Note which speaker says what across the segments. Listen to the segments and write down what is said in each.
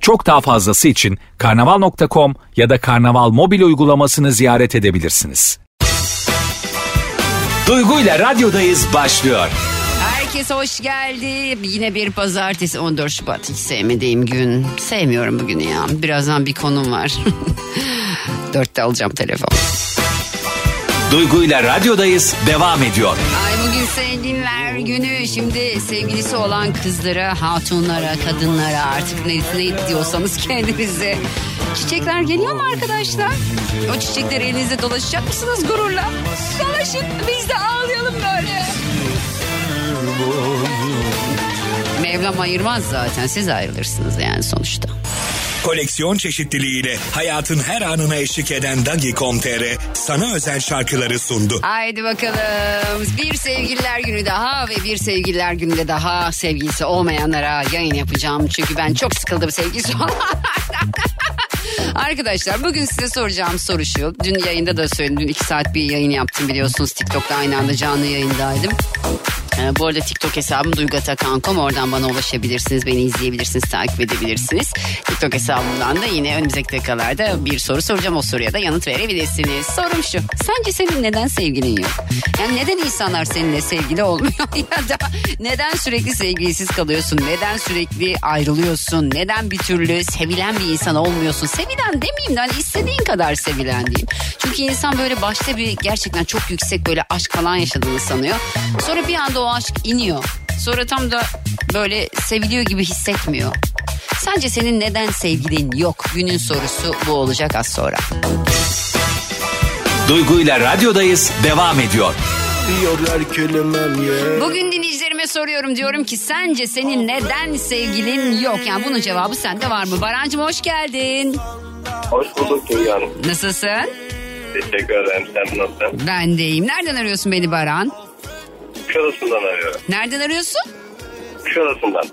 Speaker 1: Çok daha fazlası için karnaval.com ya da karnaval mobil uygulamasını ziyaret edebilirsiniz. Duygu ile radyodayız başlıyor.
Speaker 2: Herkese hoş geldi. Yine bir pazartesi 14 Şubat. Hiç sevmediğim gün. Sevmiyorum bugünü ya. Birazdan bir konum var. Dörtte alacağım telefon.
Speaker 1: Duygu ile radyodayız devam ediyor.
Speaker 2: Ay bugün sevgililer günü. Şimdi sevgilisi olan kızlara, hatunlara, kadınlara artık ne, ne diyorsanız kendinize. Çiçekler geliyor mu arkadaşlar? O çiçekleri elinizde dolaşacak mısınız gururla? Dolaşın biz de ağlayalım böyle. Mevlam ayırmaz zaten siz ayrılırsınız yani sonuçta.
Speaker 3: Koleksiyon çeşitliliğiyle hayatın her anına eşlik eden Dagi.com.tr sana özel şarkıları sundu.
Speaker 2: Haydi bakalım. Bir sevgililer günü daha ve bir sevgililer gününde daha sevgilisi olmayanlara yayın yapacağım. Çünkü ben çok sıkıldım sevgilisi olanlardan. Arkadaşlar bugün size soracağım soru şu. Dün yayında da söyledim. Dün iki saat bir yayın yaptım biliyorsunuz. TikTok'ta aynı anda canlı yayındaydım. Ee, bu arada TikTok hesabım Duygu Atakan.com. Oradan bana ulaşabilirsiniz, beni izleyebilirsiniz, takip edebilirsiniz. TikTok hesabımdan da yine önümüzdeki dakikalarda bir soru soracağım. O soruya da yanıt verebilirsiniz. Sorum şu, sence senin neden sevgilin yok? Yani neden insanlar seninle sevgili olmuyor? ya da neden sürekli sevgilisiz kalıyorsun? Neden sürekli ayrılıyorsun? Neden bir türlü sevilen bir insan olmuyorsun? Sevilen demeyeyim de hani istediğin kadar sevilen diyeyim. Çünkü insan böyle başta bir gerçekten çok yüksek böyle aşk falan yaşadığını sanıyor. Sonra bir anda o aşk iniyor. Sonra tam da böyle seviliyor gibi hissetmiyor. Sence senin neden sevgilin yok? Günün sorusu bu olacak az sonra.
Speaker 1: Duygu ile radyodayız devam ediyor.
Speaker 2: Bugün dinleyicilerime soruyorum diyorum ki sence senin neden sevgilin yok? Yani bunun cevabı sende var mı? Barancım hoş geldin.
Speaker 4: Hoş bulduk Duygu Hanım.
Speaker 2: Nasılsın?
Speaker 4: Teşekkür ederim. Sen nasılsın?
Speaker 2: Ben deyim. Nereden arıyorsun beni Baran?
Speaker 4: Kuşadası'ndan arıyorum.
Speaker 2: Nereden arıyorsun?
Speaker 4: Kuşadası'ndan.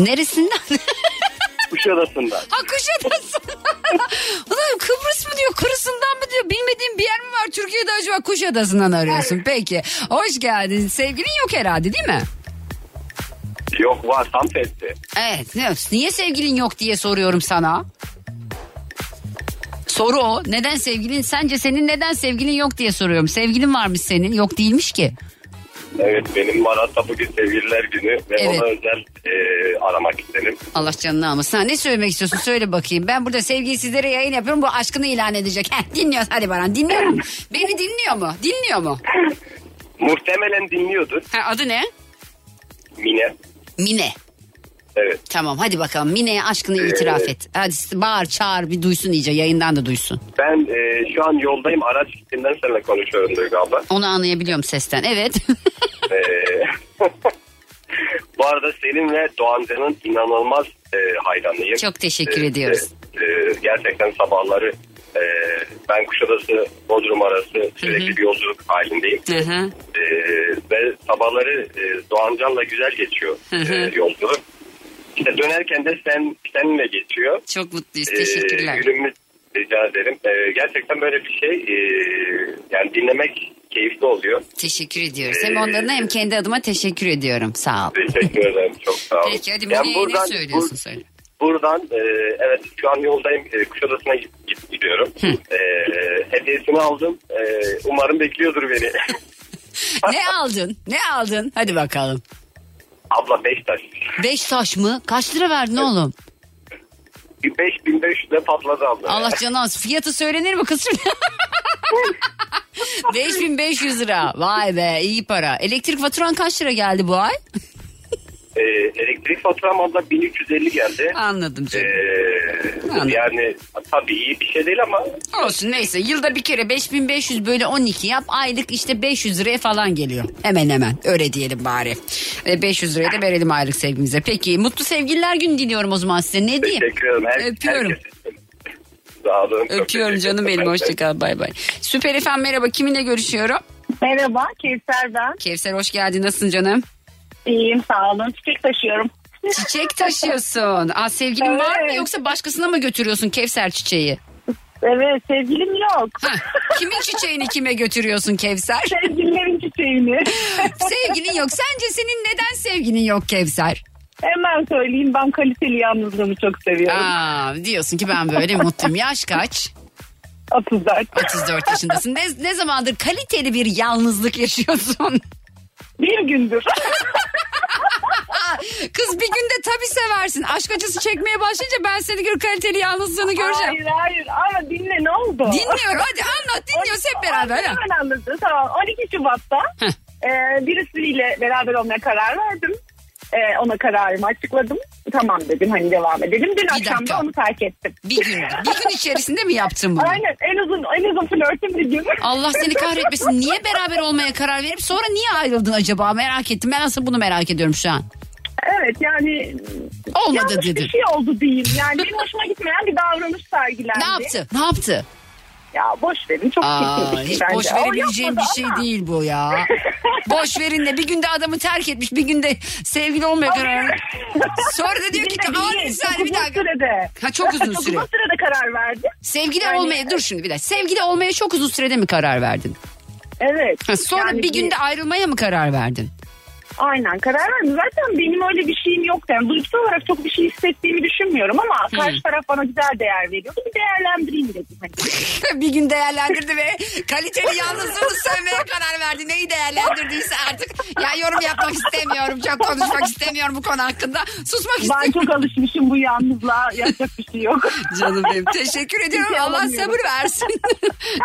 Speaker 2: Neresinden?
Speaker 4: Kuşadası'ndan.
Speaker 2: ha Kuşadası. Ulan Kıbrıs mı diyor, Kırısından mı diyor? Bilmediğim bir yer mi var? Türkiye'de acaba Kuşadası'ndan arıyorsun. Peki. Hoş geldin. Sevgilin yok herhalde değil mi?
Speaker 4: Yok var tam testi.
Speaker 2: Evet. ne- Niye sevgilin yok diye soruyorum sana. Soru o. Neden sevgilin? Sence senin neden sevgilin yok diye soruyorum. Sevgilin varmış senin. Yok değilmiş ki.
Speaker 4: Evet benim var hatta bugün sevgililer günü ve
Speaker 2: Evet.
Speaker 4: ona özel e, aramak istedim.
Speaker 2: Allah canını almasın. Ha, ne söylemek istiyorsun? Söyle bakayım. Ben burada sevgilisizlere yayın yapıyorum. Bu aşkını ilan edecek. Heh, dinliyor. Hadi Baran dinliyorum. Beni dinliyor mu? Dinliyor mu?
Speaker 4: Muhtemelen dinliyordur
Speaker 2: Ha, adı ne?
Speaker 4: Mine.
Speaker 2: Mine.
Speaker 4: Evet.
Speaker 2: Tamam hadi bakalım. Mine'ye aşkını itiraf et. Hadi bağır çağır bir duysun iyice. Yayından da duysun.
Speaker 4: Ben e, şu an yoldayım. Araç gittiğinden seninle konuşuyorum Duygu abla.
Speaker 2: Onu anlayabiliyorum sesten. Evet.
Speaker 4: E, bu arada senin ve Doğancan'ın inanılmaz e, hayranıyım.
Speaker 2: Çok teşekkür
Speaker 4: E,
Speaker 2: ediyoruz.
Speaker 4: e, e, gerçekten sabahları e, ben Kuşadası Bodrum arası sürekli bir yolculuk halindeyim.
Speaker 2: Hı hı.
Speaker 4: Ee, ve sabahları e, Doğancan'la güzel geçiyor e, yolculuk. İşte dönerken de sen seninle geçiyor.
Speaker 2: Çok mutluyuz.
Speaker 4: Ee,
Speaker 2: Teşekkürler.
Speaker 4: günümüz rica ederim. Ee, gerçekten böyle bir şey e, yani dinlemek keyifli oluyor.
Speaker 2: Teşekkür ediyoruz. Hem onların hem kendi adıma teşekkür ediyorum. Sağ ol.
Speaker 4: Teşekkür ederim çok sağ olun.
Speaker 2: Peki hadi
Speaker 4: Ben
Speaker 2: Mine'ye ne söylüyorsun
Speaker 4: bur-
Speaker 2: söyle.
Speaker 4: buradan e, evet şu an yoldayım e, Kuşadası'na git- git- gidiyorum. E, hediyesini aldım. E, umarım bekliyordur beni.
Speaker 2: ne aldın? Ne aldın? Hadi bakalım.
Speaker 4: Abla Beştaş.
Speaker 2: Beş taş mı? Kaç lira verdin oğlum?
Speaker 4: Bir 5500 de patladı abla.
Speaker 2: Allah canı alsın. Fiyatı söylenir mi kızım? 5500 lira. Vay be iyi para. Elektrik faturan kaç lira geldi bu ay?
Speaker 4: Ee, elektrik faturam abla 1350 geldi.
Speaker 2: Anladım
Speaker 4: Ee,
Speaker 2: canım. Anladım.
Speaker 4: yani tabii iyi bir şey değil ama
Speaker 2: Olsun neyse yılda bir kere 5500 bölü 12 yap aylık işte 500 liraya falan geliyor. Hemen hemen öyle diyelim bari. E, 500 liraya da verelim aylık sevgimize. Peki mutlu sevgililer günü diliyorum o zaman size ne diyeyim?
Speaker 4: teşekkür ederim. Her,
Speaker 2: Öpüyorum.
Speaker 4: herkes için. Sağ olun. Çok
Speaker 2: Öpüyorum
Speaker 4: teşekkür
Speaker 2: canım
Speaker 4: ederim.
Speaker 2: benim. Hoşçakal. Bay bay. Süper efendim merhaba. Kiminle görüşüyorum?
Speaker 5: Merhaba Kevser ben.
Speaker 2: Kevser hoş geldin. Nasılsın canım?
Speaker 5: İyiyim sağ olun. Çiçek taşıyorum.
Speaker 2: Çiçek taşıyorsun. Aa, sevgilin var mı
Speaker 5: Evet.
Speaker 2: yoksa başkasına mı götürüyorsun Kevser çiçeği?
Speaker 5: Evet sevgilim yok.
Speaker 2: Ha, kimin çiçeğini kime götürüyorsun Kevser?
Speaker 5: Sevgililerin çiçeğini.
Speaker 2: Sevgilin yok. Sence senin neden sevgilin yok Kevser?
Speaker 5: Hemen söyleyeyim ben kaliteli yalnızlığımı çok seviyorum.
Speaker 2: Aa, diyorsun ki ben böyle mutluyum. Yaş kaç?
Speaker 5: 34.
Speaker 2: 34 yaşındasın. Ne, ne zamandır kaliteli bir yalnızlık yaşıyorsun?
Speaker 5: Bir gündür.
Speaker 2: Aa, Kız bir günde tabii seversin. Aşk acısı çekmeye başlayınca ben seni gör kaliteli yalnızlığını göreceğim.
Speaker 5: Hayır hayır ama dinle ne oldu?
Speaker 2: Dinliyorum hadi anlat dinliyoruz hep beraber. ha.
Speaker 5: Hemen anladım. Tamam 12 Şubat'ta e, birisiyle beraber olmaya karar verdim. E, ona kararımı açıkladım. Tamam dedim hani devam edelim. Dün akşam
Speaker 2: dakika.
Speaker 5: da onu terk ettim.
Speaker 2: Bir gün, bir gün içerisinde mi yaptın bunu?
Speaker 5: Aynen en uzun en uzun flörtüm bir gün.
Speaker 2: Allah seni kahretmesin. Niye beraber olmaya karar verip sonra niye ayrıldın acaba? Merak ettim. Ben asıl bunu merak ediyorum şu an.
Speaker 5: Evet yani
Speaker 2: Olmadı
Speaker 5: yanlış
Speaker 2: dedin.
Speaker 5: bir şey oldu diyeyim. Yani benim hoşuma gitmeyen bir davranış sergilendi.
Speaker 2: Ne yaptı? Ne yaptı?
Speaker 5: Ya boş verin çok
Speaker 2: Aa,
Speaker 5: çirkin bir şey
Speaker 2: hiç
Speaker 5: bence.
Speaker 2: boş
Speaker 5: O
Speaker 2: verebileceğim bir
Speaker 5: yapmadı
Speaker 2: şey
Speaker 5: ama
Speaker 2: değil bu ya. boş verin de bir günde adamı terk etmiş, bir günde sevgili olmaya karar vermiş. Sonra da diyor ki
Speaker 5: bizim de
Speaker 2: "Aa,
Speaker 5: değil,
Speaker 2: bir saniye bir
Speaker 5: çok uzun
Speaker 2: dakika.
Speaker 5: Sürede.
Speaker 2: Ha, çok uzun
Speaker 5: çok
Speaker 2: süre.
Speaker 5: uzun sürede karar verdi.
Speaker 2: Sevgili
Speaker 5: Yani-
Speaker 2: olmaya dur şimdi bir dakika. Sevgili olmaya çok uzun sürede mi karar verdin?
Speaker 5: Evet.
Speaker 2: Ha, sonra
Speaker 5: Yani
Speaker 2: bir günde ayrılmaya mı karar verdin?
Speaker 5: Aynen karar verdim. Zaten benim öyle bir şeyim yoktu. Yani duygusal olarak çok bir şey hissettiğimi düşünmüyorum ama karşı taraf bana güzel değer veriyordu. Bir değerlendireyim dedim. Hani.
Speaker 2: bir gün değerlendirdi ve kaliteli yalnızlığını sövmeye karar verdi. Neyi değerlendirdiyse artık. Ya yorum yapmak istemiyorum. Çok konuşmak istemiyorum bu konu hakkında. Susmak
Speaker 5: ben
Speaker 2: istiyorum.
Speaker 5: çok alışmışım bu yalnızlığa. Yapacak bir şey yok.
Speaker 2: Canım benim. Teşekkür ediyorum.
Speaker 5: Hiç
Speaker 2: Allah
Speaker 5: alamıyorum.
Speaker 2: sabır versin.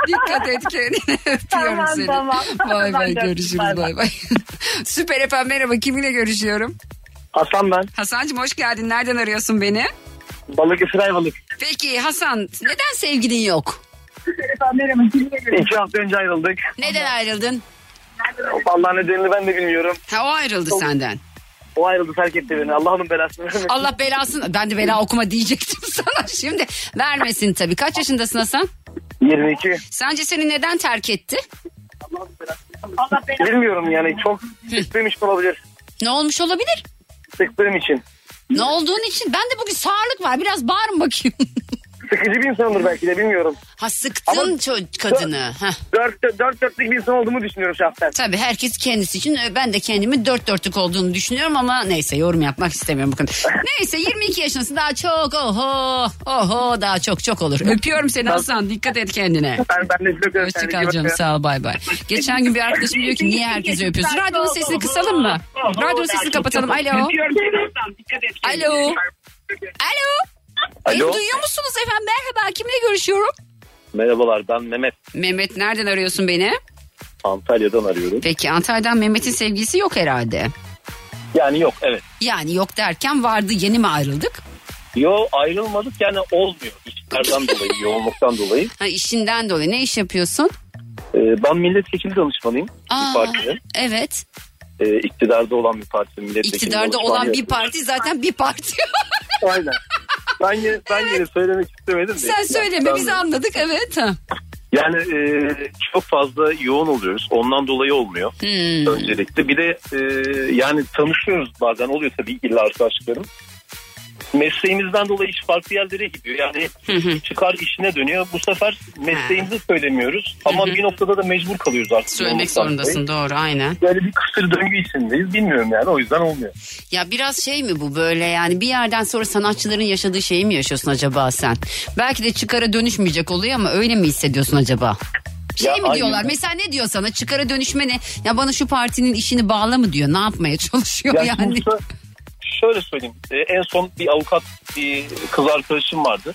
Speaker 2: Dikkat et kendine. Öpüyorum
Speaker 5: Tamam,
Speaker 2: seni.
Speaker 5: tamam.
Speaker 2: Bay
Speaker 5: Ben
Speaker 2: bay
Speaker 5: de öptüm.
Speaker 2: görüşürüz.
Speaker 5: Bay bay.
Speaker 2: Bay bay. Süper efendim merhaba. Kiminle görüşüyorum?
Speaker 4: Hasan ben.
Speaker 2: Hasan'cığım hoş geldin. Nereden arıyorsun beni?
Speaker 4: Balıkesir Ayvalık.
Speaker 2: Peki Hasan neden sevgilin yok?
Speaker 5: Merhaba. dinliyorum.
Speaker 4: İki hafta önce ayrıldık.
Speaker 2: Neden ayrıldın?
Speaker 4: Vallahi nedenini ben de bilmiyorum.
Speaker 2: Ha o ayrıldı senden.
Speaker 4: O ayrıldı terk etti beni. Allah onun belasını vermesin.
Speaker 2: Allah belasını ben de bela okuma diyecektim sana şimdi. Vermesin tabii. Kaç yaşındasın Hasan?
Speaker 4: 22.
Speaker 2: Sence seni neden terk etti?
Speaker 5: Allah belanı
Speaker 4: Bilmiyorum yani çok sıktığım için olabilir.
Speaker 2: Ne olmuş olabilir?
Speaker 4: Sıktığım için.
Speaker 2: Ne olduğun için ben de bugün sağırlık var. Biraz bağırın bakayım.
Speaker 4: Sıkıcı bir insanımdır belki de bilmiyorum.
Speaker 2: ha sıktın
Speaker 4: Ama-
Speaker 2: ço- kadını. Heh.
Speaker 4: Dört, dört dörtlük bir insan olduğumu düşünüyorum şahsen.
Speaker 2: Tabii herkes kendisi için. Ee, Ben de kendimi dört dörtlük olduğunu düşünüyorum ama neyse yorum yapmak istemiyorum bakın. Neyse 22 yaşındasın daha çok oho oho daha çok çok olur. Öpüyorum seni Hasan dikkat et kendine.
Speaker 4: Ben, ben de size
Speaker 2: Hoşçakal canım sağ ol bay bay. Geçen gün bir arkadaşım diyor ki niye herkesi öpüyorsun? Radyonun sesini kısalım mı? Radyonun sesini kapatalım. Alo. Alo. Alo. Beni
Speaker 4: Alo.
Speaker 2: duyuyor musunuz efendim? Merhaba kimle görüşüyorum?
Speaker 4: Merhabalar ben Mehmet.
Speaker 2: Mehmet nereden arıyorsun beni?
Speaker 4: Antalya'dan arıyorum.
Speaker 2: Peki Antalya'dan Mehmet'in sevgilisi yok herhalde.
Speaker 4: Yani yok evet.
Speaker 2: Yani yok derken vardı yeni mi ayrıldık?
Speaker 4: Yo ayrılmadık yani olmuyor. İşlerden dolayı, yoğunluktan dolayı.
Speaker 2: Ha, işinden dolayı ne iş yapıyorsun?
Speaker 4: Ee, ben milletvekili danışmanıyım
Speaker 2: Aa,
Speaker 4: bir partinin.
Speaker 2: evet.
Speaker 4: Ee, iktidarda olan bir partinin milletvekili
Speaker 2: İktidarda
Speaker 4: danışmanı
Speaker 2: olan bir
Speaker 4: yapıyorum.
Speaker 2: parti zaten bir parti.
Speaker 4: Aynen. Ben yine, ben yine söylemek istemedim de.
Speaker 2: Sen söyleme
Speaker 4: Ben-
Speaker 2: biz anladık evet. Ha.
Speaker 4: Yani e, çok fazla yoğun oluyoruz. Ondan dolayı olmuyor
Speaker 2: Hmm.
Speaker 4: öncelikle. Bir de e, yani tanışıyoruz bazen oluyor tabii illa arkadaşlarım. Mesleğimizden dolayı iş farklı yerlere gidiyor. Yani çıkar işine dönüyor. Bu sefer mesleğimizi söylemiyoruz. Ama bir noktada da mecbur kalıyoruz artık.
Speaker 2: Söylemek
Speaker 4: yoğunluktan dolayı.
Speaker 2: zorundasın doğru aynen.
Speaker 4: Böyle bir kısır döngü içindeyiz. Bilmiyorum yani o yüzden olmuyor.
Speaker 2: Ya biraz şey mi bu böyle yani bir yerden sonra sanatçıların yaşadığı şeyi mi yaşıyorsun acaba sen? Belki de çıkara dönüşmeyecek oluyor ama öyle mi hissediyorsun acaba? Şey
Speaker 4: Ya
Speaker 2: mi
Speaker 4: aynen.
Speaker 2: diyorlar mesela ne diyor sana çıkara dönüşme ne? Ya bana şu partinin işini bağla mı diyor ne yapmaya çalışıyor
Speaker 4: Ya
Speaker 2: yani?
Speaker 4: şimdi şö- şöyle söyleyeyim. Ee, en son bir avukat bir kız arkadaşım vardı.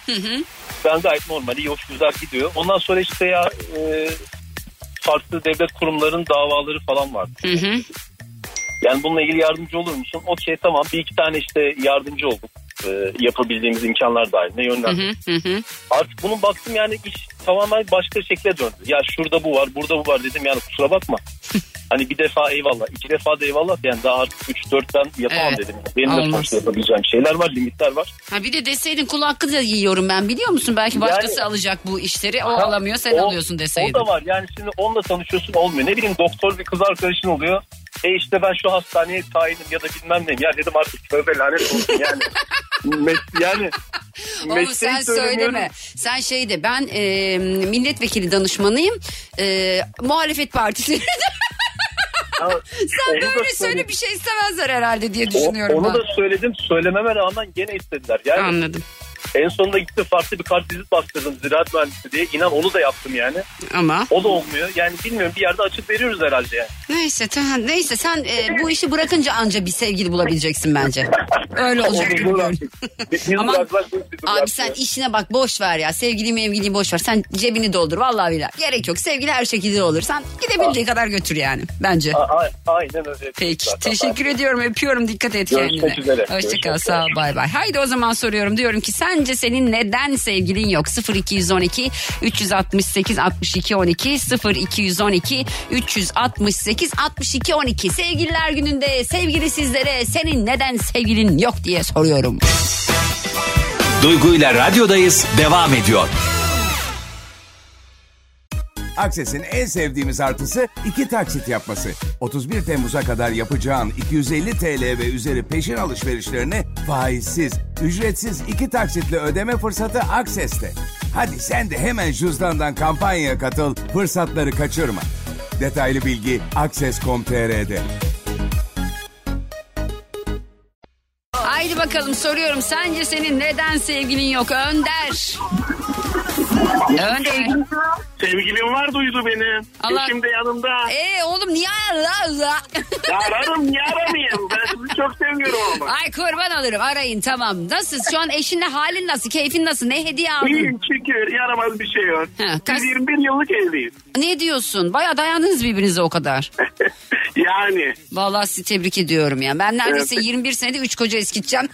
Speaker 4: Ben gayet normal, iyi, hoş, güzel gidiyor. Ondan sonra işte ya e, farklı devlet kurumlarının davaları falan vardı.
Speaker 2: Hı hı.
Speaker 4: Yani bununla ilgili yardımcı olur musun? O şey tamam. Bir iki tane işte yardımcı olduk. Ee, yapabildiğimiz imkanlar dahilinde
Speaker 2: Hı
Speaker 4: yönlendirdik.
Speaker 2: hı hı hı.
Speaker 4: Artık bunun baktım yani iş tamamen başka şekle döndü. Ya şurada bu var, burada bu var dedim yani kusura bakma. Hani bir defa eyvallah, iki defa da eyvallah. Yani daha artık 3-4'ten yapamam
Speaker 2: Evet.
Speaker 4: dedim. Benim de
Speaker 2: Olmaz.
Speaker 4: sonuçta yapabileceğim şeyler var, limitler var.
Speaker 2: Ha bir de deseydin kul hakkı da yiyorum ben biliyor musun? Belki başkası
Speaker 4: Yani-
Speaker 2: alacak bu işleri. O
Speaker 4: Ha,
Speaker 2: alamıyor sen
Speaker 4: o-
Speaker 2: alıyorsun deseydin.
Speaker 4: O da var yani şimdi onunla tanışıyorsun olmuyor. Ne bileyim doktor bir kız arkadaşın oluyor. E işte ben şu hastaneye tayinim ya da bilmem neyim. Ya dedim artık tövbe lanet olsun yani. Mes- yani
Speaker 2: Oğlum sen söyleme. Sen şey de ben e, milletvekili danışmanıyım. E, muhalefet partisi. sen böyle söyle bir şey istemezler herhalde diye düşünüyorum
Speaker 4: onu
Speaker 2: ben.
Speaker 4: da söyledim söylememe rağmen gene istediler. Yani
Speaker 2: Anladım.
Speaker 4: en sonunda gittim farklı bir kart dizit bastırdım ziraat mühendisi diye. İnan onu da yaptım yani.
Speaker 2: Ama
Speaker 4: O da olmuyor. Yani bilmiyorum bir yerde açık veriyoruz herhalde yani.
Speaker 2: neyse tamam neyse sen e, bu işi bırakınca anca bir sevgili bulabileceksin bence. Öyle olacak. gibi
Speaker 4: Onu
Speaker 2: görünüyor.
Speaker 4: bıraktık. Biz
Speaker 2: Aman,
Speaker 4: bıraktık, biz bıraktık.
Speaker 2: Abi sen işine bak boş ver ya. Sevgili mevgiliyi boş ver. Sen cebini doldur vallahi billahi. Gerek yok. Sevgili her şekilde olur. Sen gidebildiği kadar götür yani bence.
Speaker 4: A- a- Aynen öyle.
Speaker 2: Peki
Speaker 4: Zaten.
Speaker 2: teşekkür ediyorum öpüyorum dikkat et
Speaker 4: Görüşmek
Speaker 2: kendine.
Speaker 4: üzere.
Speaker 2: Hoşça kal
Speaker 4: Görüşmek
Speaker 2: sağ ol
Speaker 4: üzere.
Speaker 2: bay bay. Haydi o zaman soruyorum diyorum ki sence senin neden sevgilin yok? 0212 368 62 12 0212 368 62 12 sevgililer gününde sevgili sizlere senin neden sevgilin yok diye soruyorum.
Speaker 1: Duygu ile radyodayız devam ediyor.
Speaker 6: Akses'in en sevdiğimiz artısı iki taksit yapması. 31 Temmuz'a kadar yapacağın 250 TL ve üzeri peşin alışverişlerini faizsiz, ücretsiz iki taksitle ödeme fırsatı Akses'te. Hadi sen de hemen cüzdandan kampanyaya katıl, fırsatları kaçırma. Detaylı bilgi akses.com.tr'de.
Speaker 2: Haydi bakalım soruyorum sence senin neden sevgilin yok Önder? Önder.
Speaker 7: Sevgilim var duydu beni.
Speaker 2: Allah-
Speaker 7: Eşim de yanımda.
Speaker 2: Ee oğlum niye la la?
Speaker 7: Ya ararım niye aramayayım? Ben sizi çok seviyorum ama.
Speaker 2: Ay kurban olurum arayın tamam. Nasıl şu an eşinle halin nasıl? Keyfin nasıl? Ne hediye aldın?
Speaker 7: İyiyim şükür yaramaz bir şey yok.
Speaker 2: Ha, kas-
Speaker 7: Biz 21 yıllık evliyiz.
Speaker 2: ne diyorsun? Baya dayandınız birbirinize o kadar.
Speaker 7: Yani
Speaker 2: Vallahi sizi tebrik ediyorum ya. Ben neredeyse
Speaker 7: Evet.
Speaker 2: 21 senede 3 koca eskiteceğim.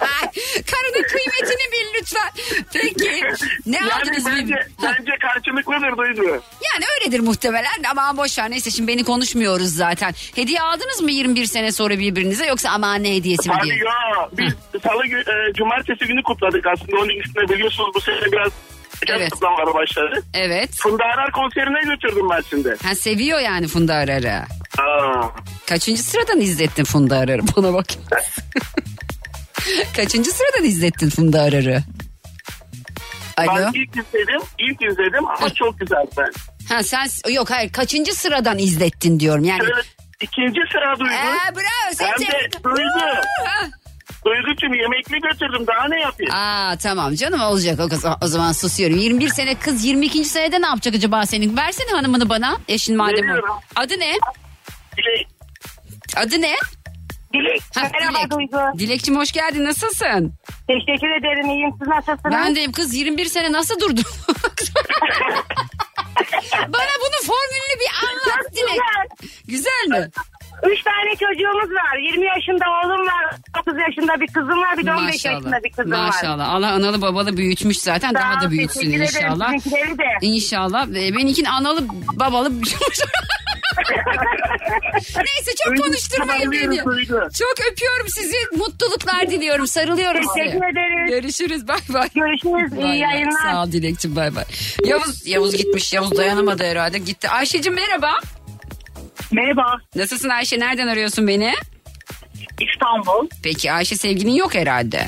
Speaker 2: Ay, Karının kıymetini bil lütfen. Peki ne
Speaker 7: yani
Speaker 2: aldınız
Speaker 7: bence,
Speaker 2: birbirinize?
Speaker 7: bence karşılıklıdır duydu.
Speaker 2: Yani öyledir muhtemelen ama boş ver neyse şimdi beni konuşmuyoruz zaten. Hediye aldınız mı 21 sene sonra birbirinize yoksa aman ne hediyesi mi diye.
Speaker 7: Abi ya biz salı gü- e, cumartesi günü kutladık aslında onun üstüne biliyorsunuz bu sene biraz biraz
Speaker 2: Evet.
Speaker 7: kutlamalara başladı.
Speaker 2: Evet.
Speaker 7: Funda Arar konserine götürdüm ben şimdi.
Speaker 2: Ha seviyor yani Funda Arar'ı.
Speaker 7: Aa,
Speaker 2: Kaçıncı sıradan izlettin Funda Arar'ı? Bana bak. Kaçıncı sıradan izlettin Funda Arar'ı? Alo.
Speaker 7: ben ilk izledim, ilk izledim ama çok güzel ben.
Speaker 2: Ha sen yok hayır kaçıncı sıradan izlettin diyorum yani.
Speaker 7: Evet, ikinci sıra duydu.
Speaker 2: Ee, bravo seni
Speaker 7: Hem de
Speaker 2: tebrik-
Speaker 7: duydu.
Speaker 2: Ha.
Speaker 7: Duygucuğum yemekli götürdüm daha ne yapayım?
Speaker 2: Aa tamam canım olacak o, kız, o zaman susuyorum. 21 sene kız 22. senede ne yapacak acaba senin? Versene hanımını bana eşin madem. o.
Speaker 7: Veriyorum.
Speaker 2: Adı ne?
Speaker 7: Dilek,
Speaker 2: Adı ne?
Speaker 5: Dilek.
Speaker 2: Ha, Dilek. Dilekçim hoş geldin nasılsın?
Speaker 5: Teşekkür ederim. İyiyim. Siz nasılsınız?
Speaker 2: Ben deyim kız 21 sene nasıl durdun? Bana bunu formülünü bir anlat Dilek. Güzel mi?
Speaker 5: Üç tane çocuğumuz var. 20 yaşında oğlum var. 9 yaşında bir kızım var. Bir de 15 yaşında bir kızım var.
Speaker 2: Maşallah. Allah analı babalı büyütmüş zaten.
Speaker 5: Sağ
Speaker 2: Daha
Speaker 5: ol,
Speaker 2: da büyütsün
Speaker 5: teşekkür ederim.
Speaker 2: inşallah.
Speaker 5: Sizinkileri de.
Speaker 2: İnşallah. Ee, Benimkin analı babalı Neyse çok konuşturmayın beni. Çok öpüyorum sizi. Mutluluklar diliyorum. Sarılıyorum size.
Speaker 5: Teşekkür ederiz.
Speaker 2: Görüşürüz. Bay bay.
Speaker 5: Görüşürüz.
Speaker 2: Bay bay.
Speaker 5: İyi yayınlar.
Speaker 2: Sağ ol Dilekçim bay bay. Yavuz, Yavuz gitmiş. Yavuz dayanamadı herhalde. Gitti. Ayşe'cim merhaba.
Speaker 5: Merhaba.
Speaker 2: Nasılsın Ayşe? Nereden arıyorsun beni?
Speaker 5: İstanbul.
Speaker 2: Peki Ayşe sevginin yok herhalde.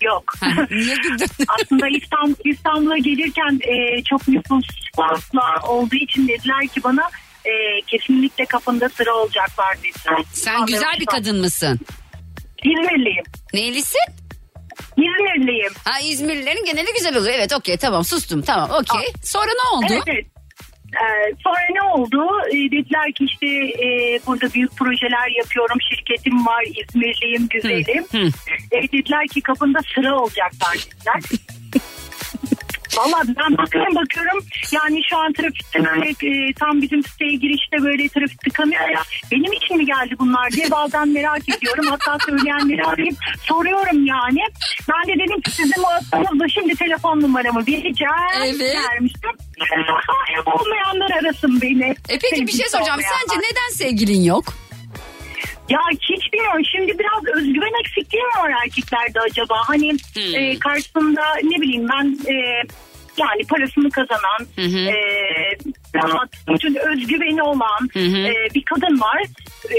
Speaker 5: Yok.
Speaker 2: Ha, Niye güldün?
Speaker 5: Aslında İstanbul, İstanbul'a gelirken e, çok nüfusla olduğu için dediler ki bana e, kesinlikle kafanda sıra olacaklar dediler.
Speaker 2: Sen güzel bir kadın mısın?
Speaker 5: İzmirliyim.
Speaker 2: Neylisin?
Speaker 5: İzmirliyim.
Speaker 2: Ha İzmirlilerin geneli güzel oluyor. Evet okey tamam sustum tamam okey. Sonra ne oldu?
Speaker 5: Evet, evet. Ee, sonra ne oldu? Ee, dediler ki işte e, burada büyük projeler yapıyorum, şirketim var, İzmirliyim, güzelim.
Speaker 2: Hı, hı.
Speaker 5: Ee, dediler ki kapında sıra olacaklar dediler. Valla ben bakıyorum bakıyorum yani şu an trafikte böyle e, tam bizim siteye girişte böyle trafik tıkanıyor ya benim için mi geldi bunlar diye bazen merak ediyorum hatta söyleyenleri arayıp soruyorum yani ben de dedim ki sizin WhatsApp'ınızda şimdi telefon numaramı vereceğim
Speaker 2: Evet.
Speaker 5: vermiştim Sahip olmayanlar arasın beni.
Speaker 2: E peki bir şey
Speaker 5: Sevgilisi
Speaker 2: soracağım.
Speaker 5: olmayanlar.
Speaker 2: Sence neden sevgilin yok?
Speaker 5: Ya hiç bilmiyorum. Şimdi biraz özgüven eksikliği mi var erkeklerde acaba? Hani e,
Speaker 2: Hmm.
Speaker 5: karşısında ne bileyim ben e, yani parasını kazanan, e, rahat, bütün özgüveni olan e, bir kadın var. E,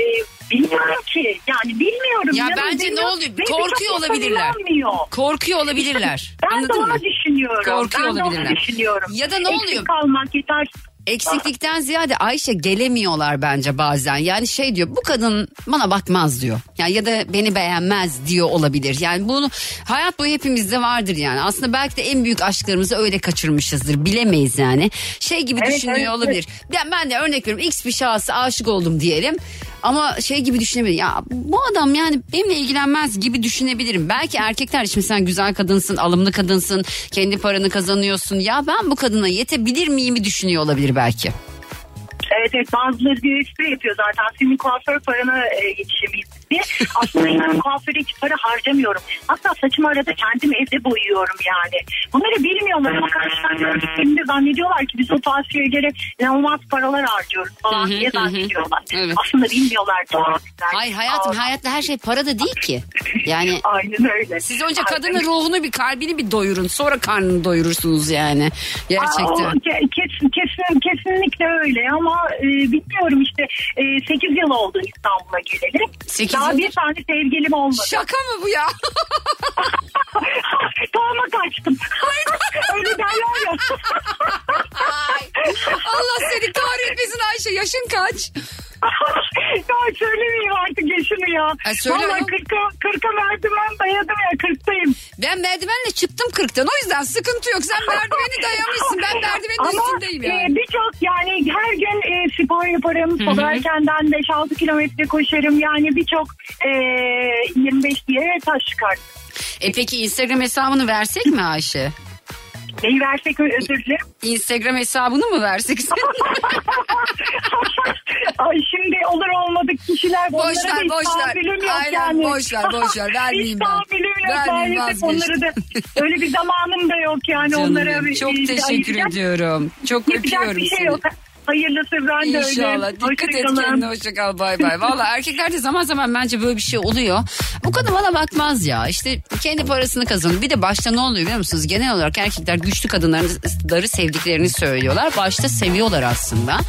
Speaker 5: bilmiyorum ki. Yani bilmiyorum.
Speaker 2: Ya
Speaker 5: Yanım
Speaker 2: bence ne
Speaker 5: benim-
Speaker 2: oluyor?
Speaker 5: Beni
Speaker 2: Korkuyor
Speaker 5: çok insan
Speaker 2: olabilirler.
Speaker 5: inanmıyor.
Speaker 2: Korkuyor olabilirler.
Speaker 5: şey Ben de
Speaker 2: Anladın
Speaker 5: onu
Speaker 2: mı?
Speaker 5: düşünüyorum.
Speaker 2: Korkuyor
Speaker 5: ben de onu
Speaker 2: olabilirler.
Speaker 5: düşünüyorum.
Speaker 2: Ya da ne
Speaker 5: Eksik
Speaker 2: oluyor?
Speaker 5: kalmak yetersiz
Speaker 2: Eksiklikten ziyade Ayşe gelemiyorlar bence bazen. Yani şey diyor bu kadın bana bakmaz diyor. Yani ya da beni beğenmez diyor olabilir. Yani bunu hayat boyu hepimizde vardır yani. Aslında belki de en büyük aşklarımızı öyle kaçırmışızdır. Bilemeyiz yani. Şey gibi
Speaker 5: Evet,
Speaker 2: düşünüyor
Speaker 5: evet, evet.
Speaker 2: olabilir. Ben, ben de örnek veriyorum X bir şahsa aşık oldum diyelim. Ama şey gibi düşünebilirim. Ya bu adam yani benimle ilgilenmez gibi düşünebilirim. Belki erkekler şimdi sen güzel kadınsın, alımlı kadınsın, kendi paranı kazanıyorsun. Ya ben bu kadına yetebilir miyimi düşünüyor olabilir belki.
Speaker 5: Evet evet bazıları bir espri yapıyor zaten. Senin kuaför parana e, yetişemeyiz diye. Aslında ben kuaföre hiç para harcamıyorum. Hatta saçımı arada kendim evde boyuyorum yani. Bunları bilmiyorlar ama karşıdan gördüklerinde zannediyorlar ki biz o kuaförlere inanılmaz paralar harcıyoruz falan diye zannediyorlar.
Speaker 2: Evet.
Speaker 5: Aslında bilmiyorlar doğru.
Speaker 2: Ay hayatım
Speaker 5: Aa,
Speaker 2: hayatta her şey para da değil ki. Yani
Speaker 5: Aynen öyle.
Speaker 2: siz önce
Speaker 5: Aynen.
Speaker 2: kadının ruhunu bir kalbini bir doyurun sonra karnını doyurursunuz yani.
Speaker 5: Aa,
Speaker 2: Gerçekten.
Speaker 5: o ke- kesin, kesin, kesinlikle öyle ama e, bilmiyorum işte e, 8 yıl oldu İstanbul'a geleli.
Speaker 2: Sekiz
Speaker 5: Daha
Speaker 2: yıl-
Speaker 5: bir tane sevgilim olmadı.
Speaker 2: Şaka mı bu ya?
Speaker 5: Tohuma kaçtım. Öyle derler ya.
Speaker 2: Ay, Allah seni kahretmesin Ayşe yaşın kaç?
Speaker 5: ya söylemeyeyim artık yaşını ya.
Speaker 2: Ay söyle ya.
Speaker 5: Vallahi 40'a, 40'a merdiven dayadım ya 40'tayım.
Speaker 2: Ben merdivenle çıktım 40'tan o yüzden sıkıntı yok. Sen merdiveni dayamışsın ben merdivenin
Speaker 5: Ama,
Speaker 2: üstündeyim yani.
Speaker 5: e, birçok yani her gün e, spor yaparım. Sabah erkenden 5-6 kilometre koşarım. Yani birçok e, 25 diye taş çıkar.
Speaker 2: E peki Instagram hesabını versek mi Ayşe?
Speaker 5: Neyi versek ö- özür dilerim.
Speaker 2: Instagram hesabını mı versek?
Speaker 5: Ay şimdi olur olmadık kişiler.
Speaker 2: Boş
Speaker 5: onlara
Speaker 2: ver,
Speaker 5: da hiç
Speaker 2: boş ver.
Speaker 5: tahammülüm yok
Speaker 2: Aynen,
Speaker 5: yani.
Speaker 2: boş ver, boş ver. Vermeyeyim ben.
Speaker 5: Tahammülüm yok
Speaker 2: Vermeyeyim,
Speaker 5: maalesef
Speaker 2: vazgeçtim.
Speaker 5: onlara da. Öyle bir zamanım da yok yani
Speaker 2: Canım
Speaker 5: onlara.
Speaker 2: benim,
Speaker 5: bir-
Speaker 2: çok
Speaker 5: bir-
Speaker 2: teşekkür
Speaker 5: ayıracak-
Speaker 2: ediyorum. Çok
Speaker 5: Yapacak
Speaker 2: öpüyorum
Speaker 5: bir şey
Speaker 2: seni.
Speaker 5: yok. Hayırlısı ben de öyle.
Speaker 2: İnşallah. Dikkat et
Speaker 5: Hoşçakalın.
Speaker 2: kendine. Hoşçakal. Bay bay. Valla erkeklerde zaman zaman bence böyle bir şey oluyor. Bu kadın bana bakmaz ya. İşte kendi parasını kazanıyor. Bir de başta ne oluyor biliyor musunuz? Genel olarak erkekler güçlü kadınları sevdiklerini söylüyorlar. Başta seviyorlar aslında.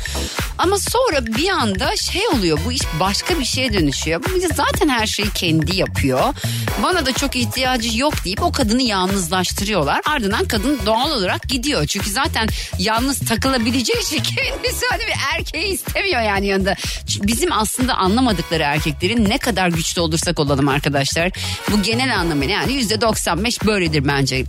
Speaker 2: Ama sonra bir anda şey oluyor. Bu iş başka bir şeye dönüşüyor. Bu bir de zaten her şeyi kendi yapıyor. Bana da çok ihtiyacı yok deyip o kadını yalnızlaştırıyorlar. Ardından kadın doğal olarak gidiyor. Çünkü zaten yalnız takılabileceği için kendisi hani bir erkeği istemiyor yani yanında. Çünkü Bizim aslında anlamadıkları erkeklerin ne kadar güçlü olursak olalım arkadaşlar. Bu genel anlamıyla yani yüzde 95 böyledir bence.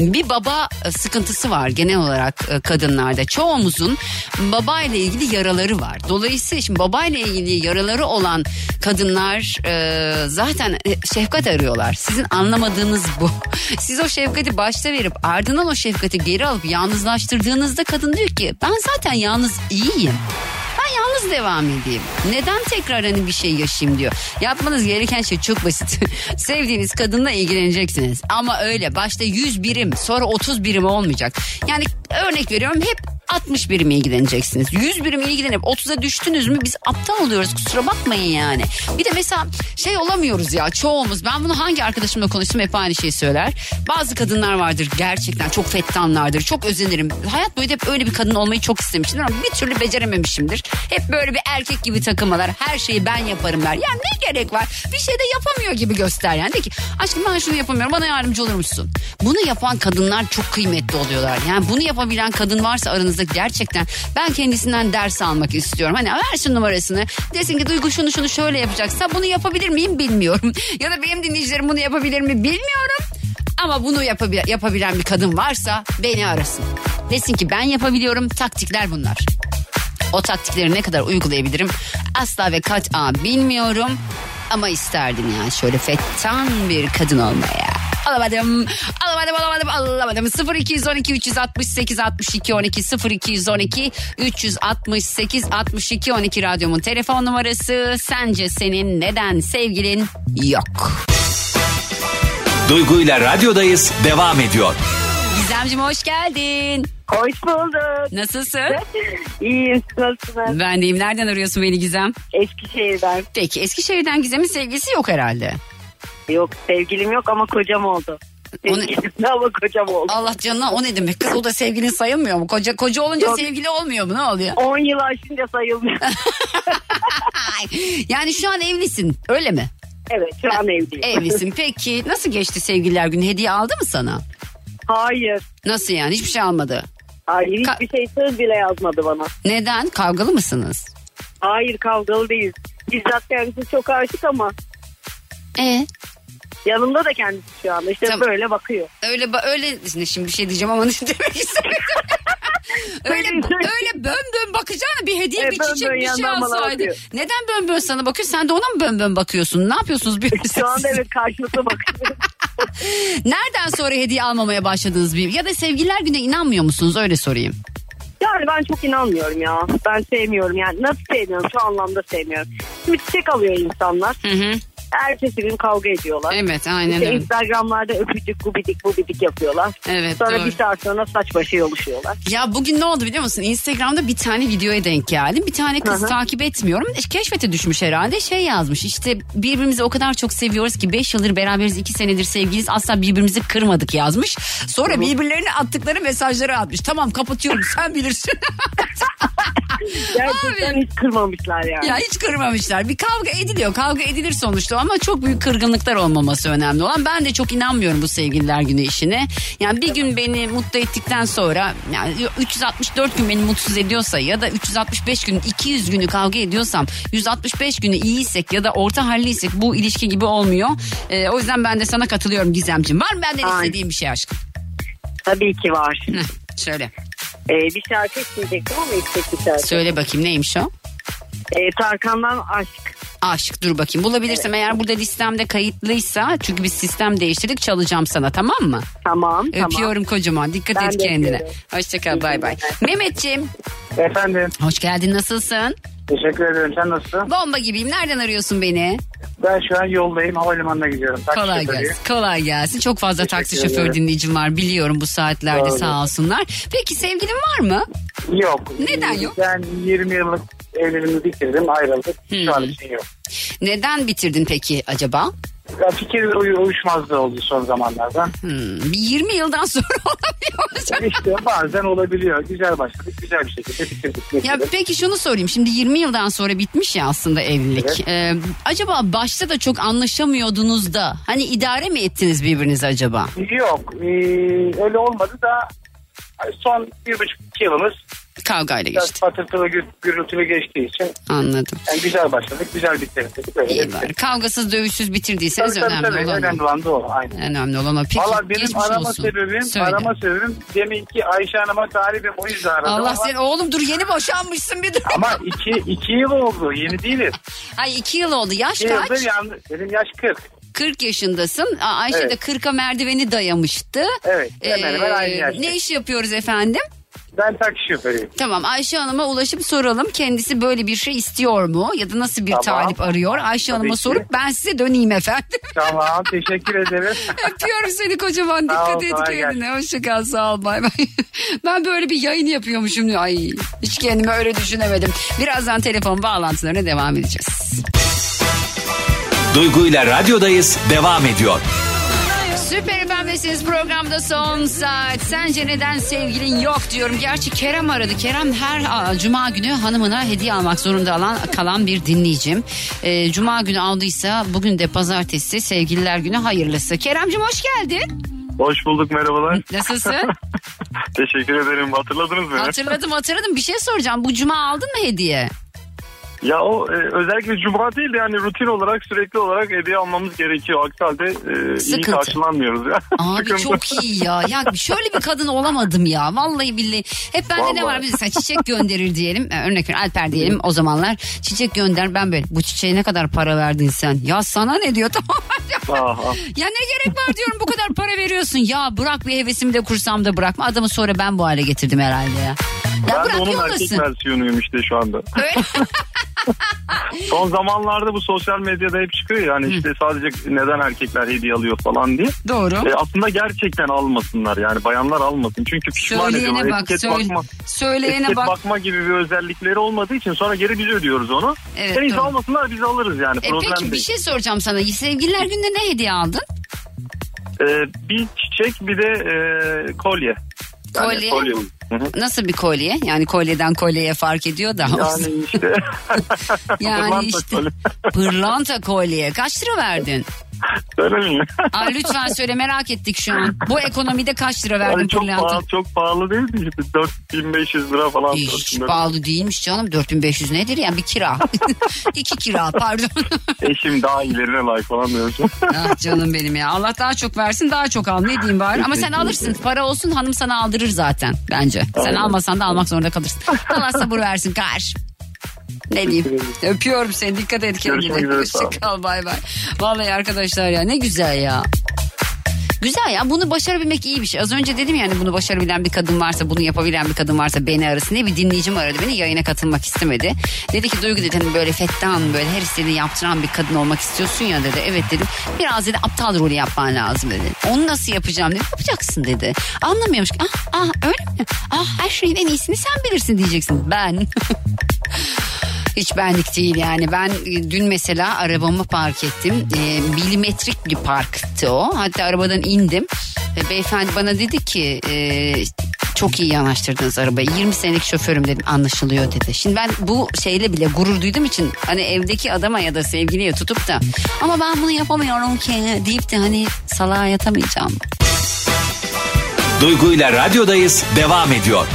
Speaker 2: Bir baba e, sıkıntısı var genel olarak e, kadınlarda. Çoğumuzun babayla ilgili yaraları var. Dolayısıyla şimdi babayla ilgili yaraları olan kadınlar e, zaten e, şefkat arıyorlar. Sizin anlamadığınız bu. Siz o şefkati başta verip ardından o şefkati geri alıp yalnızlaştırdığınızda kadın diyor ki ben zaten yalnız iyiyim. Ben yalnız devam edeyim. Neden tekrar hani bir şey yaşayayım diyor. Yapmanız gereken şey çok basit. Sevdiğiniz kadınla ilgileneceksiniz. Ama öyle başta 100 birim sonra 30 birim olmayacak. Yani örnek veriyorum hep 60 birim ilgileneceksiniz. 100 birim ilgilenip 30'a düştünüz mü biz aptal oluyoruz kusura bakmayın yani. Bir de mesela şey olamıyoruz ya çoğumuz ben bunu hangi arkadaşımla konuştum hep aynı şeyi söyler. Bazı kadınlar vardır gerçekten çok fettanlardır çok özenirim. Hayat boyu da hep öyle bir kadın olmayı çok istemişimdir ama bir türlü becerememişimdir. Hep böyle bir erkek gibi takılmalar her şeyi ben yaparım der. Yani ne gerek var bir şey de yapamıyor gibi göster yani. De ki aşkım ben şunu yapamıyorum bana yardımcı olur musun? Bunu yapan kadınlar çok kıymetli oluyorlar. Yani bunu yapabilen kadın varsa aranızda gerçekten ben kendisinden ders almak istiyorum. Hani ver şu numarasını desin ki Duygu şunu şunu şöyle yapacaksa bunu yapabilir miyim bilmiyorum. ya da benim dinleyicilerim bunu yapabilir mi bilmiyorum. Ama bunu yapabi- yapabilen bir kadın varsa beni arasın. Desin ki ben yapabiliyorum taktikler bunlar. O taktikleri ne kadar uygulayabilirim asla ve kat'a bilmiyorum. Ama isterdim yani şöyle fettan bir kadın olmaya. Alamadım, alamadım, alamadım, alamadım. 0212 368 62 12 0212 368 62 12 radyomun telefon numarası. Sence senin neden sevgilin yok?
Speaker 1: Duygu ile radyodayız devam ediyor.
Speaker 2: Gizemciğim hoş geldin.
Speaker 5: Hoş bulduk.
Speaker 2: Nasılsın?
Speaker 5: İyiyim. Nasılsınız?
Speaker 2: Ben deyim. Nereden arıyorsun beni Gizem?
Speaker 5: Eskişehir'den.
Speaker 2: Peki Eskişehir'den Gizem'in sevgilisi yok herhalde.
Speaker 5: Yok sevgilim yok ama kocam oldu.
Speaker 2: O ne-
Speaker 5: Sevgilim ama kocam oldu.
Speaker 2: Allah canına o ne demek? Kız o da sevgilin sayılmıyor mu? Koca koca olunca
Speaker 5: Yok.
Speaker 2: sevgili olmuyor mu? Ne oluyor?
Speaker 5: 10 yıl aşınca sayılmıyor.
Speaker 2: Ay, yani şu an evlisin öyle mi?
Speaker 5: evet şu an evliyim.
Speaker 2: Evlisin. Peki nasıl geçti sevgililer günü? Hediye aldı mı sana?
Speaker 5: Hayır.
Speaker 2: Nasıl yani? Hiçbir şey almadı.
Speaker 5: Hayır
Speaker 2: Ka-
Speaker 5: hiçbir şey söz bile yazmadı bana.
Speaker 2: Neden? Kavgalı mısınız?
Speaker 5: Hayır kavgalı değiliz. Bizzat kendisi çok aşık ama
Speaker 2: E
Speaker 5: yanımda da kendisi şu anda. İşte
Speaker 2: Tamam.
Speaker 5: böyle bakıyor.
Speaker 2: öyle ba- öyle Ne, şimdi bir şey diyeceğim ama ne demek istemedim. öyle öyle bön bön bakacağına bir hediye
Speaker 5: E,
Speaker 2: bir
Speaker 5: bön
Speaker 2: çiçek
Speaker 5: bön
Speaker 2: bir şey
Speaker 5: yandan bana
Speaker 2: alsaydı.
Speaker 5: bakıyor.
Speaker 2: Neden bön bön sana bakıyor? Sen de ona mı bön bön bakıyorsun? Ne yapıyorsunuz birbirinize?
Speaker 5: E, Şu anda evet karşılıklı bakıyor.
Speaker 2: Nereden sonra hediye almamaya başladınız bir? Ya da sevgililer güne inanmıyor musunuz? Öyle sorayım.
Speaker 5: yani ben çok inanmıyorum ya. Ben sevmiyorum yani. Nasıl sevmiyorum? Şu anlamda sevmiyorum. Şimdi çiçek alıyor insanlar.
Speaker 2: Hı hı.
Speaker 5: Ertesi gün kavga ediyorlar.
Speaker 2: Evet
Speaker 5: İşte
Speaker 2: aynen öyle.
Speaker 5: Instagram'larda öpücük gubidik gubidik yapıyorlar.
Speaker 2: Evet,
Speaker 5: Sonra
Speaker 2: doğru.
Speaker 5: bir saat sonra saç başı yoluşuyorlar.
Speaker 2: Ya bugün ne oldu biliyor musun? Instagram'da bir tane videoya denk geldim. Bir tane kız
Speaker 5: Hı hı.
Speaker 2: takip etmiyorum. E, Keşfete düşmüş herhalde. Şey yazmış işte birbirimizi o kadar çok seviyoruz ki 5 yıldır beraberiz 2 senedir sevgiliyiz. Asla birbirimizi kırmadık yazmış. Sonra birbirlerine attıkları mesajları atmış. Tamam kapatıyorum sen bilirsin.
Speaker 5: Gerçekten hiç kırmamışlar yani.
Speaker 2: ya hiç kırmamışlar. Bir kavga ediliyor. Kavga edilir sonuçta ama çok büyük kırgınlıklar olmaması önemli olan. Ben de çok inanmıyorum bu sevgililer günü işine. Yani bir gün beni mutlu ettikten sonra yani 364 gün beni mutsuz ediyorsa ya da 365 gün 200 günü kavga ediyorsam 165 günü iyiysek ya da orta halliysek bu ilişki gibi olmuyor. Ee, o yüzden ben de sana katılıyorum Gizemciğim. Var mı benden
Speaker 5: Ay.
Speaker 2: istediğin bir şey aşkım?
Speaker 5: Tabii ki var.
Speaker 2: Heh, Söyle.
Speaker 5: Ee, bir şarkı isteyecektim ama istek bir şarkı.
Speaker 2: Söyle bakayım neymiş o?
Speaker 5: Ee, Tarkan'dan aşk.
Speaker 2: Aşık dur bakayım. Bulabilirsem eğer burada listemde kayıtlıysa çünkü biz sistem değiştirdik çalacağım sana tamam mı?
Speaker 5: Tamam tamam.
Speaker 2: Öpüyorum kocaman. Dikkat
Speaker 5: Ben
Speaker 2: et
Speaker 5: de
Speaker 2: kendine.
Speaker 5: öpüyorum.
Speaker 2: Hoşçakal bay bay. Mehmetciğim
Speaker 7: Efendim
Speaker 2: hoş geldin nasılsın?
Speaker 7: teşekkür ederim sen nasılsın?
Speaker 2: Bomba gibiyim. Nereden arıyorsun beni?
Speaker 7: Ben şu an yoldayım havalimanına gidiyorum. Taksi
Speaker 2: Kolay
Speaker 7: şoförüyüm.
Speaker 2: gelsin. Kolay gelsin. Çok fazla
Speaker 7: Teşekkür
Speaker 2: taksi şoför
Speaker 7: ederim.
Speaker 2: dinleyicim var biliyorum bu saatlerde
Speaker 7: Sağ
Speaker 2: sağ
Speaker 7: olun.
Speaker 2: olsunlar. Peki sevgilin var mı?
Speaker 7: Yok.
Speaker 2: Neden yok?
Speaker 7: Ben 20 yıllık evliliğimi bitirdim ayrıldık. Şu an
Speaker 2: Hmm.
Speaker 7: için şey yok.
Speaker 2: Neden bitirdin peki acaba?
Speaker 7: Ya fikir uy- uyuşmazlığı oldu son zamanlarda.
Speaker 2: Hmm, bir 20 yıldan sonra olabiliyor.
Speaker 7: işte bazen olabiliyor. Güzel başladık. Güzel bir şekilde bitirdik.
Speaker 2: Ya
Speaker 7: bitirdik.
Speaker 2: peki şunu sorayım. Şimdi 20 yıldan sonra bitmiş ya aslında evlilik.
Speaker 7: Evet.
Speaker 2: Ee, acaba başta da çok anlaşamıyordunuz da hani idare mi ettiniz birbirinizi acaba?
Speaker 7: Yok. ee, öyle olmadı da son bir buçuk iki yılımız
Speaker 2: Kavgayla
Speaker 7: biraz
Speaker 2: geçti.
Speaker 7: patırtılı gür- gürültülü geçtiği için
Speaker 2: Anladım.
Speaker 7: yani güzel başladık. Güzel bitirdik. Böyle
Speaker 2: İyi
Speaker 7: bitirdik.
Speaker 2: bari. Kavgasız dövüşsüz bitirdiyseniz
Speaker 7: Tabii, tabii,
Speaker 2: önemli
Speaker 7: tabii.
Speaker 2: olan.
Speaker 7: Önemli
Speaker 2: o.
Speaker 7: olan da o. Aynen.
Speaker 2: Önemli olan o. Peki
Speaker 7: Valla benim
Speaker 2: geçmiş
Speaker 7: arama
Speaker 2: olsun.
Speaker 7: sebebim,
Speaker 2: Söyle.
Speaker 7: arama sebebim deminki Ayşe Hanım'a talibim o yüzden aradım.
Speaker 2: Allah
Speaker 7: ama,
Speaker 2: seni oğlum dur yeni boşanmışsın bir dur.
Speaker 7: Ama iki, iki yıl oldu yeni değiliz.
Speaker 2: Ay iki yıl oldu. Yaş
Speaker 7: İki
Speaker 2: kaç?
Speaker 7: yıldır yalnız benim yaş 40.
Speaker 2: 40 yaşındasın. Aa, Ayşe
Speaker 7: Evet.
Speaker 2: de 40'a merdiveni dayamıştı. Ee,
Speaker 7: Evet, hemen hemen aynı yaşta.
Speaker 2: Ne iş yapıyoruz efendim?
Speaker 7: Ben taksi şoförüyüm.
Speaker 2: Tamam Ayşe Hanım'a ulaşıp soralım. Kendisi böyle bir şey istiyor mu? Ya da nasıl bir
Speaker 7: Tamam.
Speaker 2: talip arıyor? Ayşe
Speaker 7: Tabii
Speaker 2: Hanım'a
Speaker 7: ki.
Speaker 2: sorup ben size döneyim efendim.
Speaker 7: Tamam teşekkür ederim.
Speaker 2: Öpüyorum seni kocaman.
Speaker 7: Sağ ol,
Speaker 2: Dikkat et
Speaker 7: kolay
Speaker 2: kendine. Hoşçakal sağ ol bay bay. Ben böyle bir yayın yapıyormuşum. Ay hiç kendimi öyle düşünemedim. Birazdan telefon bağlantılarına devam edeceğiz.
Speaker 1: Duygu ile radyodayız devam ediyor.
Speaker 2: Süper FM'desiniz programda son saat. Sence neden sevgilin yok diyorum. Gerçi Kerem aradı. Kerem her aa, cuma günü hanımına hediye almak zorunda alan, kalan bir dinleyicim. Ee, cuma günü aldıysa bugün de pazartesi sevgililer günü hayırlısı. Keremcim hoş geldin.
Speaker 7: Hoş bulduk merhabalar.
Speaker 2: Nasılsın?
Speaker 7: teşekkür ederim hatırladınız mı?
Speaker 2: hatırladım hatırladım. Bir şey soracağım. Bu cuma aldın mı hediye?
Speaker 7: Ya o e, özellikle cuma değil de yani rutin olarak sürekli olarak hediye almamız gerekiyor. Aksi halde e, iyi
Speaker 2: Sıkıntı.
Speaker 7: karşılanmıyoruz ya.
Speaker 2: Abi
Speaker 7: Sıkıntı.
Speaker 2: çok iyi ya. Ya şöyle bir kadın olamadım ya. Vallahi billahi. Hep bende ne
Speaker 7: Vallahi.
Speaker 2: var? Mesela çiçek gönderir diyelim. Ee, Örnek ver Alper diyelim o zamanlar. Çiçek gönder. Ben böyle bu çiçeğe ne kadar para verdin sen? Ya sana ne diyor tamam.
Speaker 7: Aha.
Speaker 2: ya ne gerek var diyorum bu kadar para veriyorsun. Ya bırak bir hevesimi de kursam da bırakma. Adamı sonra ben bu hale getirdim herhalde ya. Ya
Speaker 7: Ben de
Speaker 2: bırak
Speaker 7: onun erkek
Speaker 2: yollasın.
Speaker 7: versiyonuyum işte şu anda.
Speaker 2: Öyle.
Speaker 7: Son zamanlarda bu sosyal medyada hep çıkıyor yani işte sadece neden erkekler hediye alıyor falan diye.
Speaker 2: Doğru.
Speaker 7: E, aslında gerçekten almasınlar yani bayanlar almasın. Çünkü pişman ediyorlar.
Speaker 2: Söyleyene bak,
Speaker 7: Etiket
Speaker 2: söyle-
Speaker 7: bakma.
Speaker 2: söyleyene
Speaker 7: etiket
Speaker 2: bak.
Speaker 7: bakma gibi bir özellikleri olmadığı için sonra geri biz ödüyoruz onu.
Speaker 2: Evet,
Speaker 7: En iyisi
Speaker 2: doğru.
Speaker 7: almasınlar biz alırız yani.
Speaker 2: E
Speaker 7: Problem
Speaker 2: peki bir
Speaker 7: değil.
Speaker 2: şey soracağım sana. Sevgililer günde ne hediye aldın?
Speaker 7: E, bir çiçek bir de e, kolye.
Speaker 2: Kolye.
Speaker 7: kolye. Hı hı.
Speaker 2: Nasıl bir kolye? Yani kolyeden kolyeye fark ediyor da.
Speaker 7: Yani işte.
Speaker 2: yani
Speaker 7: Pırlanta
Speaker 2: işte
Speaker 7: kolye.
Speaker 2: pırlanta kolye. Kaç lira verdin?
Speaker 7: Söylemeyeyim.
Speaker 2: Aa, lütfen söyle merak ettik şu an. Bu ekonomide kaç lira verdin
Speaker 7: Yani çok
Speaker 2: pırlanta?
Speaker 7: pahalı, çok pahalı değil mi? İşte 4500 lira falan.
Speaker 2: Hiç
Speaker 7: 4400.
Speaker 2: pahalı değilmiş canım. 4500 nedir yani bir kira. İki kira pardon.
Speaker 7: Eşim daha ilerine layık falan diyorsun.
Speaker 2: ah canım benim ya. Allah daha çok versin daha çok al. Ne diyeyim bari. Ama sen alırsın. Para olsun hanım sana aldırır zaten bence. Sen almasan da almak zorunda kalırsın. Allah sabır versin kar. Ne diyeyim. Öpüyorum seni. Dikkat et kendine.
Speaker 7: Görüşmek üzere, sağ olun.
Speaker 2: Hoşçakal bay bay. Vallahi arkadaşlar ya ne güzel ya. Güzel ya bunu başarabilmek iyi bir şey. Az önce dedim yani bunu başarabilen bir kadın varsa bunu yapabilen bir kadın varsa beni arasın diye bir dinleyicim aradı beni yayına katılmak istemedi. Dedi ki Duygu dedi hani böyle fettan böyle her istediğini yaptıran bir kadın olmak istiyorsun ya dedi. Evet dedim biraz dedi aptal rolü yapman lazım dedi. Onu nasıl yapacağım dedi. Yapacaksın dedi. Anlamıyormuş ki ah, ah öyle mi? Ah her şeyin en iyisini sen bilirsin diyeceksin. Ben Hiç benlik değil yani. Ben e, dün mesela arabamı park ettim. E, milimetrik bir parktı o. Hatta arabadan indim. E, beyefendi bana dedi ki e, çok iyi yanaştırdınız arabayı. 20 senelik şoförüm dedim anlaşılıyor dedi. Şimdi ben bu şeyle bile gurur duyduğum için hani evdeki adama ya da sevgiliye tutup da ama ben bunu yapamıyorum ki deyip de hani salağa yatamayacağım.
Speaker 1: Duygu ile radyodayız devam ediyor.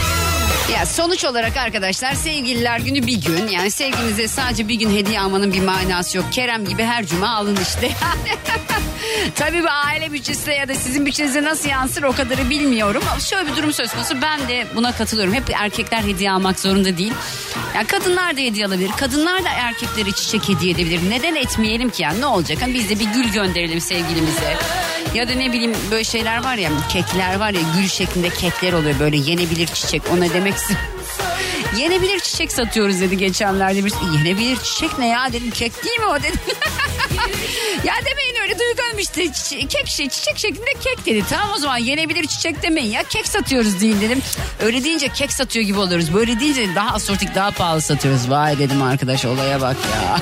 Speaker 2: Ya sonuç olarak arkadaşlar sevgililer günü bir gün. Yani sevgilinize sadece bir gün hediye almanın bir manası yok. Kerem gibi her cuma alın işte. Tabii bu aile bütçesine ya da sizin bütçenize nasıl yansır o kadarı bilmiyorum. Ama şöyle bir durum söz konusu ben de buna katılıyorum. Hep erkekler hediye almak zorunda değil. Ya kadınlar da hediye alabilir. Kadınlar da erkeklere çiçek hediye edebilir. Neden etmeyelim ki yani ne olacak? Hani biz de bir gül gönderelim sevgilimize. Ya da ne bileyim böyle şeyler var ya kekler var ya gül şeklinde kekler oluyor böyle yenebilir çiçek ona demek istiyorum. Yenebilir çiçek satıyoruz dedi geçenlerde bir. Yenebilir çiçek ne ya dedim kek değil mi o dedim. ya demeyin öyle Duygu Hanım işte çi- kek şey çiçek şeklinde kek dedi. Tamam o zaman yenebilir çiçek demeyin ya kek satıyoruz deyin dedim. Öyle deyince kek satıyor gibi oluyoruz. Böyle deyince daha asortik daha pahalı satıyoruz. Vay dedim arkadaş olaya bak ya.